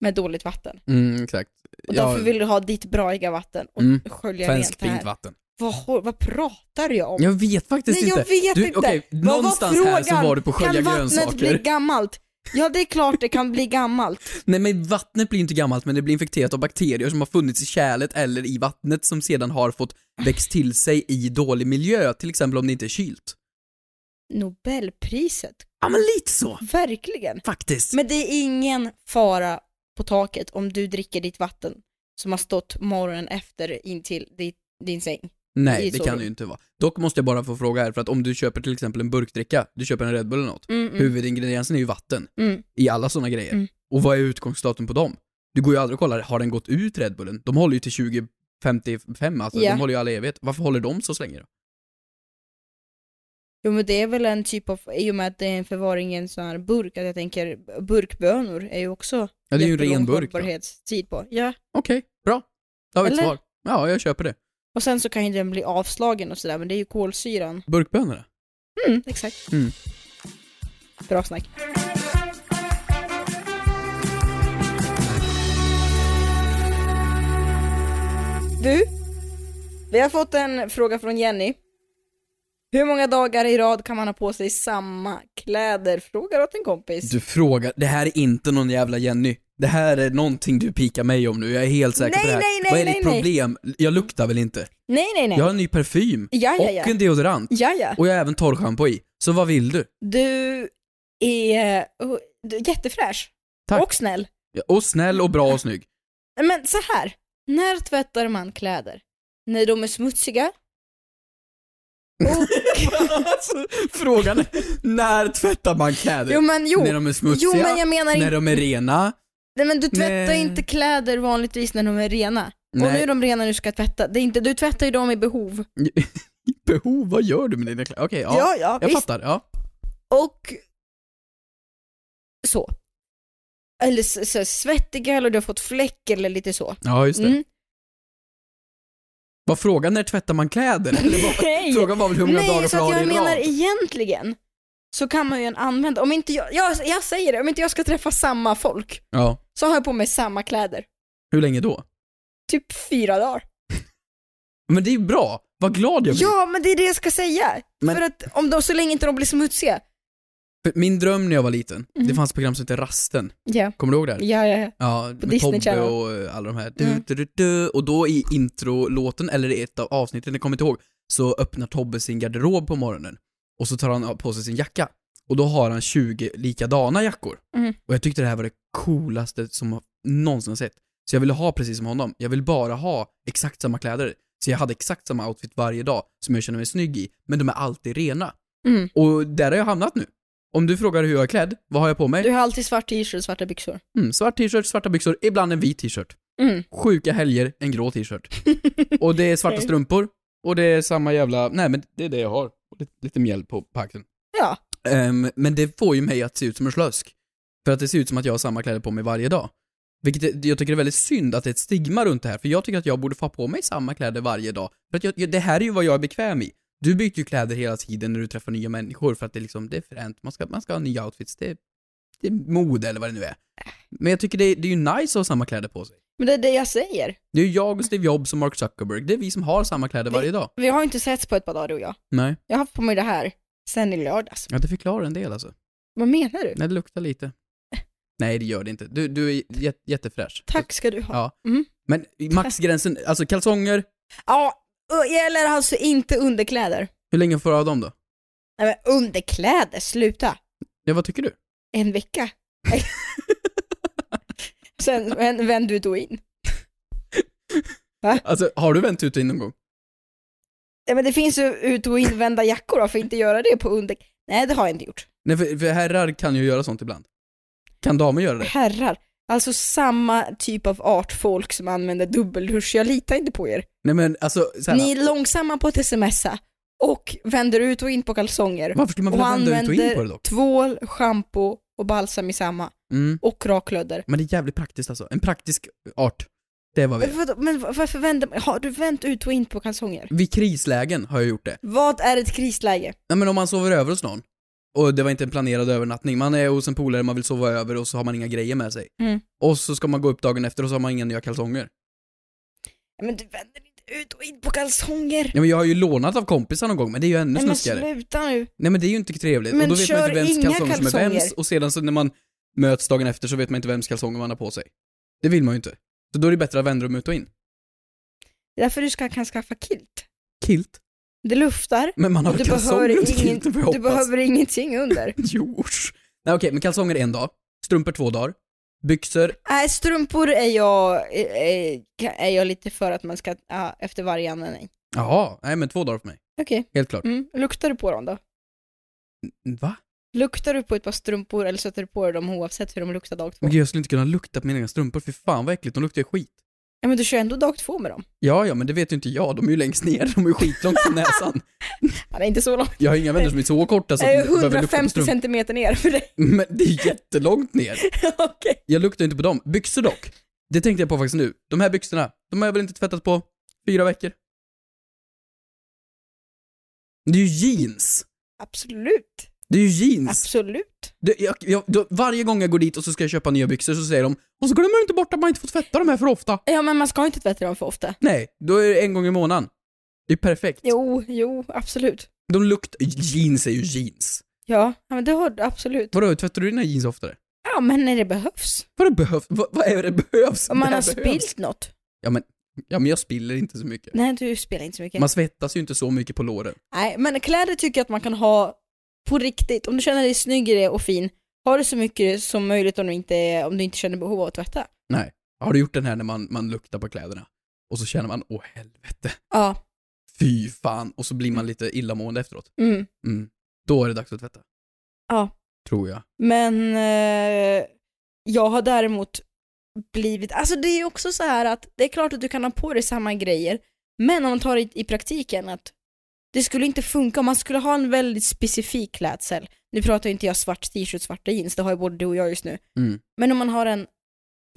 S4: med dåligt vatten.
S5: Mm, exakt.
S4: Och
S5: Ja,
S4: därför vill du ha ditt braiga vatten och
S5: Mm.
S4: skölja
S5: Svenskt
S4: rent det
S5: fint
S4: här.
S5: vatten.
S4: Vad, hå- vad pratar jag om?
S5: Jag vet faktiskt
S4: Nej
S5: inte.
S4: jag vet
S5: du,
S4: inte!
S5: okej,
S4: Vad var
S5: någonstans här så
S4: frågan?
S5: var du på att skölja
S4: Kan
S5: grönsaker.
S4: vattnet bli gammalt? Ja det är klart det kan bli gammalt.
S5: Nej men vattnet blir inte gammalt men det blir infekterat av bakterier som har funnits i kärlet eller i vattnet som sedan har fått växt till sig i dålig miljö, till exempel om det inte är kylt.
S4: Nobelpriset,
S5: Ja men lite så,
S4: verkligen.
S5: faktiskt.
S4: Men det är ingen fara på taket om du dricker ditt vatten som har stått morgonen efter in till ditt, din säng. det
S5: Nej,
S4: är
S5: det
S4: så
S5: kan
S4: det-
S5: det ju inte vara. Dock måste jag bara få fråga här, för att om du köper till exempel en burkdricka, du köper en Red Bull eller något,
S4: Mm, mm,
S5: huvudingrediensen är ju vatten
S4: mm.
S5: i alla sådana grejer.
S4: Mm.
S5: Och vad är utgångsdatum på dem? Du går ju aldrig och kollar, har den gått ut Red Bullen? De håller ju till 2055, alltså
S4: Ja.
S5: de håller ju all evighet. Varför håller de så länge då?
S4: Jo men det är väl en typ av, i och med att det är en förvaring i en sån här burk, att jag tänker burkbönor är ju också
S5: Ja, det är ju en ren
S4: jättelång
S5: burk då. Okej,
S4: hållbarhetstid på. Ja.
S5: bra. Då har vi ett
S4: Eller?
S5: svar. Ja, jag köper det.
S4: Och sen så kan ju den bli avslagen och sådär, men det är ju kolsyran.
S5: Burkbönorna?
S4: Mm, exakt.
S5: Mm.
S4: Bra snack. Du, vi har fått en fråga från Jenny. Hur många dagar i rad kan man ha på sig samma kläder? Frågar åt en kompis.
S5: Du frågar, det här är inte någon jävla Jenny. Det här är någonting du pikar mig om nu, jag är helt säker på
S4: Nej,
S5: det här.
S4: nej, nej,
S5: Vad är
S4: nej,
S5: ditt
S4: nej.
S5: problem? Jag luktar väl inte?
S4: Nej, nej, nej.
S5: Jag
S4: Ja,
S5: har en ny parfym,
S4: ja, ja.
S5: och en deodorant,
S4: ja, ja.
S5: och jag har även torrschampo i. Så vad vill du?
S4: Du är oh, du är jättefräsch.
S5: Tack.
S4: Och snäll.
S5: Ja, Och snäll och bra och snygg.
S4: Men så här. när tvättar man kläder? När de är smutsiga?
S5: alltså, frågan är, när tvättar man kläder?
S4: Jo men jo,
S5: När de är smutsiga?
S4: jo men jag menar
S5: När
S4: inte,
S5: de är rena?
S4: nej men du tvättar
S5: Nej.
S4: inte kläder vanligtvis när de är rena. Och nu
S5: Nej.
S4: är de rena när du ska tvätta, det är inte, du tvättar ju dem i behov.
S5: Behov, vad gör du med dina kläder? Okej, ja.
S4: ja
S5: jag fattar, ja.
S4: Och så. Eller så, så svettiga eller du har fått fläck eller lite så.
S5: Ja, just det.
S4: Mm.
S5: Var frågan när tvättar man kläder? Eller vad,
S4: Nej.
S5: frågan var väl hur många dagar
S4: Nej, så
S5: per
S4: att
S5: dag
S4: jag
S5: det är i
S4: menar
S5: rad?
S4: egentligen så kan man ju en använda, om inte jag, jag, jag säger det, om inte jag ska träffa samma folk
S5: Ja.
S4: så har jag på mig samma kläder.
S5: Hur länge då?
S4: Typ fyra dagar.
S5: Men det är ju bra, vad glad jag blir.
S4: Ja men det är det jag ska säga.
S5: Men-
S4: För att om de, så länge inte de blir smutsiga.
S5: För Min dröm när jag var liten, det
S4: Mhm.
S5: fanns ett program som hette Rasten,
S4: Ja.
S5: kommer du ihåg det? Här?
S4: Ja, ja, ja.
S5: Ja, med
S4: Disney
S5: Tobbe
S4: Channel.
S5: och eh, alla de här. Du,
S4: Mm.
S5: du, du, du. Och då i introlåten, eller i ett av avsnitten, jag kommer inte ihåg, så öppnar Tobbe sin garderob på morgonen och så tar han på sig sin jacka. Och då har han 20 likadana jackor.
S4: Mm.
S5: Och jag tyckte det här var det coolaste som jag någonsin har sett. Så jag ville ha precis som honom. Jag vill bara ha exakt samma kläder. Så jag hade exakt samma outfit varje dag som jag känner mig snygg i, men de är alltid rena.
S4: Mm.
S5: Och där har jag hamnat nu. Om du frågar hur jag är klädd, vad har jag på mig?
S4: Du har alltid svart t-shirt och svarta byxor.
S5: Mm, svart t-shirt, svarta byxor, ibland en vit t-shirt.
S4: Mm.
S5: Sjuka helger, en grå t-shirt. och det är svarta
S4: Okej.
S5: strumpor, och det är samma jävla, nej men det är det jag har. Och lite, lite mjäll på på axeln.
S4: Ja.
S5: Ehm, men det får ju mig att se ut som en slösk. För att det ser ut som att jag har samma kläder på mig varje dag. Vilket är- jag tycker är väldigt synd att det är ett stigma runt det här, för jag tycker att jag borde få ha på mig samma kläder varje dag. För att jag, jag, det här är ju vad jag är bekväm i. Du byter ju kläder hela tiden när du träffar nya människor för att det är liksom, det är fränt, man ska, man ska ha nya outfits, det, det är mode eller vad det nu är. Men jag tycker det, är- det är ju nice att ha samma kläder på sig.
S4: Men det är det jag säger.
S5: Det är ju jag och Steve Jobs och Mark Zuckerberg, det är vi som har samma kläder varje dag.
S4: Vi har ju inte setts på ett par dagar du och jag.
S5: Nej,
S4: Jag har haft på mig det här sen i lördags.
S5: ja det förklarar en del alltså.
S4: Vad menar du?
S5: Nej, det luktar lite. Nej det gör det inte. Du, du är jät- jättefräsch.
S4: Tack ska du ha.
S5: Ja.
S4: Mm.
S5: Men maxgränsen, alltså kalsonger,
S4: Ja, och gäller alltså inte underkläder.
S5: hur länge får du ha dem då?
S4: Nej men underkläder, sluta.
S5: Ja vad tycker du?
S4: En vecka. Sen vänd- vänd du då in.
S5: Alltså har du vänt ut och in någon gång?
S4: Nej men det finns ju ut och invända jackor, varför inte göra det på under... Nej det har jag inte gjort.
S5: Nej för, för herrar kan ju göra sånt ibland. Kan damer göra det?
S4: Herrar, alltså samma typ av art folk som använder dubbeldusch, jag litar inte på er.
S5: Nej men alltså så här,
S4: Ni är långsamma på att smsa och vänder ut och in på kalsonger.
S5: varför skulle man vilja vända ut och in på det
S4: använder
S5: dock?
S4: tvål, schampo och balsam i samma.
S5: Mm.
S4: Och raklödder.
S5: Men det är jävligt praktiskt alltså. En praktisk art. Det var vi.
S4: Men, vadå, men varför vänder man, har du vänt ut och in på kalsonger?
S5: Vid krislägen har jag gjort det.
S4: Vad är ett krisläge?
S5: Nej men om man sover över hos någon, och det var inte en planerad övernattning, man är hos en polare, man vill sova över och så har man inga grejer med sig.
S4: Mm.
S5: Och så ska man gå upp dagen efter och så har man inga nya kalsonger.
S4: Men du vänder inte ut och in på kalsonger!
S5: Nej men jag har ju lånat av kompisar någon gång, men det är ju ännu
S4: Nej men
S5: snuskigare.
S4: sluta nu!
S5: Nej men det är ju inte trevligt.
S4: Men
S5: och då vet man
S4: kör
S5: inte vems
S4: inga
S5: kalsonger, som är vems,
S4: kalsonger.
S5: och sedan så när man möts dagen efter så vet man inte vems kalsonger man har på sig. Det vill man ju inte. Så då är det bättre att vända dem ut och in.
S4: Det är därför du ska, kan skaffa kilt.
S5: Kilt?
S4: Det luftar,
S5: Men man har
S4: och
S5: väl
S4: du behöver,
S5: kalsonger under
S4: ingen,
S5: kilten får jag
S4: du
S5: hoppas.
S4: behöver ingenting under.
S5: Jo. Nej okej, men kalsonger en dag, strumpor två dagar, byxor,
S4: Nej, strumpor är jag, är, är jag lite för att man ska, ja, efter varje användning.
S5: jaha, nej men två dagar för mig.
S4: Okej,
S5: Helt klart.
S4: mm. luktar du på dem då?
S5: Va?
S4: Luktar du på ett par strumpor eller sätter du på dig dem oavsett hur de luktar dag två?
S5: Men gud, jag skulle inte kunna lukta på mina egna strumpor, för fan vad äckligt, de luktar ju skit.
S4: Ja men du kör ändå dag två med dem.
S5: Ja, ja, men det vet ju inte jag, de är ju längst ner, de är ju skitlångt från näsan.
S4: Ja, det är inte så långt.
S5: Jag har inga vänner som är så korta så
S4: Jag
S5: att
S4: är
S5: de Alltså, behöver lukta på
S4: 150
S5: strumpor.
S4: centimeter ner för dig.
S5: Men det är jättelångt ner.
S4: Okej.
S5: Jag luktar inte på dem. Byxor dock, det tänkte jag på faktiskt nu. De här byxorna, de har jag väl inte tvättat på fyra veckor? Det är ju jeans!
S4: Absolut.
S5: Det är ju jeans!
S4: Absolut.
S5: Det, jag, jag, då, varje gång jag går dit och så ska jag köpa nya byxor så säger de och så glömmer du inte bort att man inte får tvätta de här för ofta.
S4: Ja men man ska inte tvätta dem för ofta.
S5: Nej, då är det en gång i månaden. Det är perfekt.
S4: Jo, jo, absolut.
S5: De luktar... Jeans är ju jeans.
S4: Ja, ja, men det har du absolut.
S5: Vadå, tvättar du dina jeans oftare?
S4: Ja men när det behövs.
S5: Vadå behövs? Vad, vad är det behövs?
S4: Om man
S5: Det
S4: har
S5: här behövs.
S4: spilt något.
S5: Ja men, ja men jag spiller inte så mycket.
S4: Nej du spelar inte så mycket.
S5: Man svettas ju inte så mycket på låren.
S4: Nej men kläder tycker jag att man kan ha på riktigt. Om du känner dig snygg i det och fin, ha det så mycket som möjligt om du inte, om du inte känner behov av att tvätta.
S5: Har du gjort den här när man, man luktar på kläderna? Och så känner man, åh helvete,
S4: Ja.
S5: fy fan, och så blir man lite illamående efteråt.
S4: Mm.
S5: Mm. Då är det dags att tvätta.
S4: Ja.
S5: Tror jag.
S4: Men eh, jag har däremot blivit, alltså det är ju också så här att det är klart att du kan ha på dig samma grejer, men om man tar det i, i praktiken att det skulle inte funka om man skulle ha en väldigt specifik klädsel. Nu pratar ju inte jag svart t-shirt, svarta jeans, det har ju både du och jag just nu.
S5: Mm.
S4: Men om man har en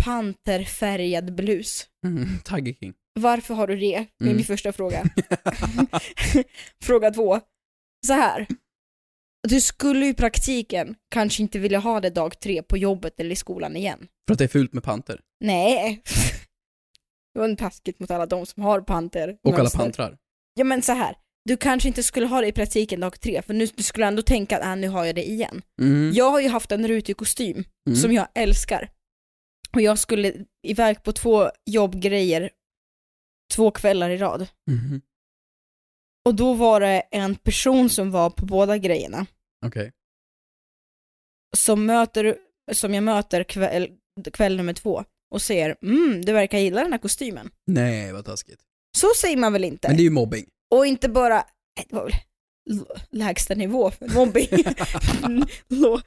S4: panterfärgad blus,
S5: Mm. Tiger King.
S4: varför har du det? Det är
S5: Mm.
S4: min första fråga. Fråga två. Så här. Du skulle ju i praktiken kanske inte vilja ha det dag tre på jobbet eller i skolan igen.
S5: För att det är fult med panter.
S4: Nej. Det var taskigt mot alla de som har panter.
S5: Och alla
S4: mönster.
S5: pantrar.
S4: Ja men så här. Du kanske inte skulle ha det i praktiken dag tre, för nu du skulle ändå tänka att äh, nu har jag det igen.
S5: Mm.
S4: Jag har ju haft en rutig kostym
S5: Mm.
S4: som jag älskar. Och jag skulle iväg på två jobbgrejer två kvällar i rad.
S5: Mhm.
S4: Och då var det en person som var på båda grejerna.
S5: Okej.
S4: som, möter, som jag möter kväll, kväll nummer två och säger mm, du verkar gilla den här kostymen.
S5: Nej, vad taskigt.
S4: Så säger man väl inte?
S5: Men det är ju mobbing.
S4: Och inte bara, nej, det var väl l- lägsta nivå för mobbing. Lå-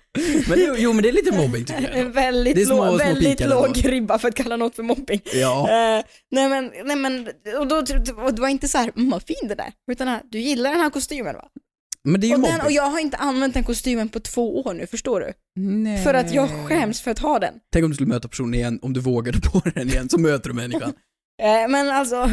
S5: Men, jo, jo, men det är lite mobbing tycker jag.
S4: en
S5: ändå. Det är
S4: väldigt,
S5: små- små
S4: låg, väldigt
S5: pikar ändå.
S4: låg ribba för att kalla något för mobbing.
S5: Ja.
S4: Eh, nej men, nej men och, då, och det var inte så här, mm, vad fin den är, utan här, du gillar den här kostymen va?
S5: Men det är ju
S4: Och,
S5: mobbing.
S4: den, och jag har inte använt den kostymen på två år nu, förstår du?
S5: Nej.
S4: För att
S5: Eh.
S4: jag skäms för att ha den.
S5: Tänk om du skulle möta personen igen, om du vågade på den igen, så möter du människan.
S4: Eh, men alltså,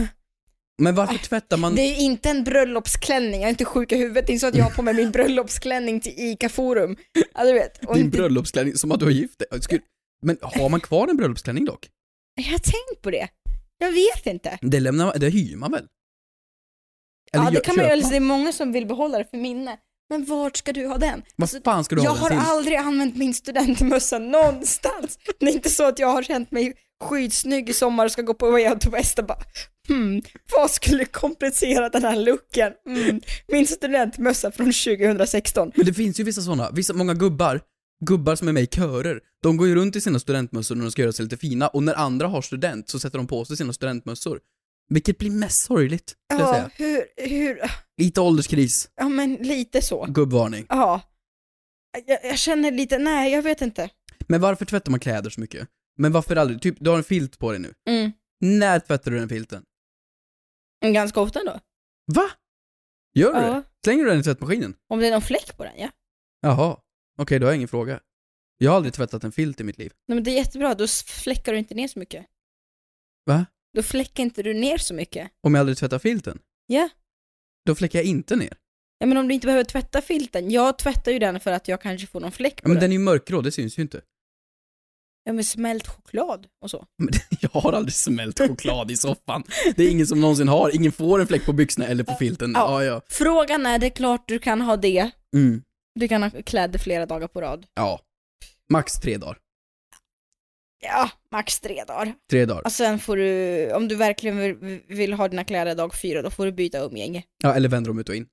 S5: Men varför tvättar man...
S4: Det är ju inte en bröllopsklänning, jag är inte sjuk i huvudet. Det är inte så att jag har på mig min bröllopsklänning till ICA Forum. Ja, du vet. Och
S5: Din
S4: inte-
S5: bröllopsklänning, som att du har gift dig. Skulle- Men har man kvar en bröllopsklänning dock?
S4: Jag har tänkt på det. Jag vet inte.
S5: Det, lämnar, det hyr man väl?
S4: Ja,
S5: gör-
S4: det, kan man, ju-
S5: köper
S4: alltså, det är många som vill behålla det för minne. Men vart ska du ha den? Alltså,
S5: Vad fan ska du
S4: jag
S5: ha
S4: har
S5: den till?
S4: aldrig använt min studentmössa någonstans. Det är inte så att jag har känt mig skitsnygg i sommar och ska gå på Way Out West och bara hmm, vad skulle kompensera den här looken? Mm, min studentmössa från 2016.
S5: Men det finns ju vissa sådana, vissa, många gubbar, gubbar som är med i körer, de går ju runt i sina studentmössor när de ska göra sig lite fina, och när andra har student så sätter de på sig sina studentmössor. Vilket blir mest sorgligt, skulle jag
S4: Ja,
S5: säga.
S4: hur, hur,
S5: Lite ålderskris,
S4: ja men lite så.
S5: gubbvarning.
S4: Ja. Jag, jag känner lite, nej jag vet inte.
S5: Men varför tvättar man kläder så mycket? Men varför aldrig, typ du har en filt på dig nu.
S4: Mm.
S5: När tvättar du den filten?
S4: Ganska ofta då.
S5: Va? Gör du
S4: Ja.
S5: det? Slänger du den i tvättmaskinen?
S4: Om det är någon fläck på den ja.
S5: Jaha, okej då har jag ingen fråga. Jag har aldrig tvättat en filt i mitt liv.
S4: Nej, men det är jättebra, då s- fläckar du inte ner så mycket.
S5: Va?
S4: Då fläckar inte du ner så mycket.
S5: Om jag aldrig tvättar filten,
S4: Ja.
S5: då fläckar jag inte ner.
S4: Ja men om du inte behöver tvätta filten, jag tvättar ju den för att jag kanske får någon fläck
S5: Ja,
S4: på
S5: men
S4: den.
S5: den är ju mörkgrå, det syns ju inte.
S4: Ja men smält choklad och så.
S5: Men jag har aldrig smält choklad i soffan. Det är ingen som någonsin har. Ingen får en fläck på byxorna eller på filten. Ja, ja.
S4: Frågan är, det är klart du kan ha det,
S5: Mm.
S4: du kan ha kläder flera dagar på rad.
S5: Ja. Max tre dagar.
S4: Ja, max tre dagar.
S5: Tre dagar.
S4: Och sen får du, om du verkligen vill, vill ha dina kläder dag fyra, då får du byta umgänge.
S5: Ja, eller vänder dem ut och in.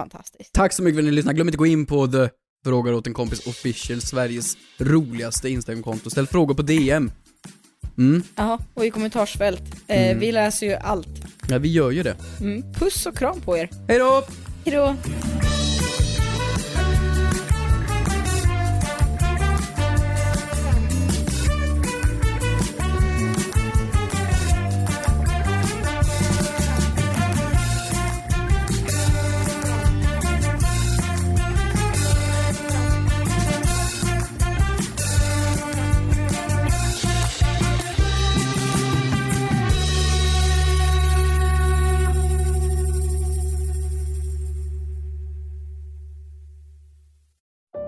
S4: Fantastiskt.
S5: Tack så mycket för att ni lyssnade. Glöm inte att gå in på the Frågar åt en kompis official, Sveriges roligaste Instagramkonto. Ställ frågor på DM. Mm,
S4: Jaha, och i kommentarsfält. Eh,
S5: Mm.
S4: Vi läser ju allt.
S5: ja vi gör ju det.
S4: Mm. Puss och kram på er.
S5: Hej då!
S4: Hejdå!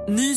S1: Ny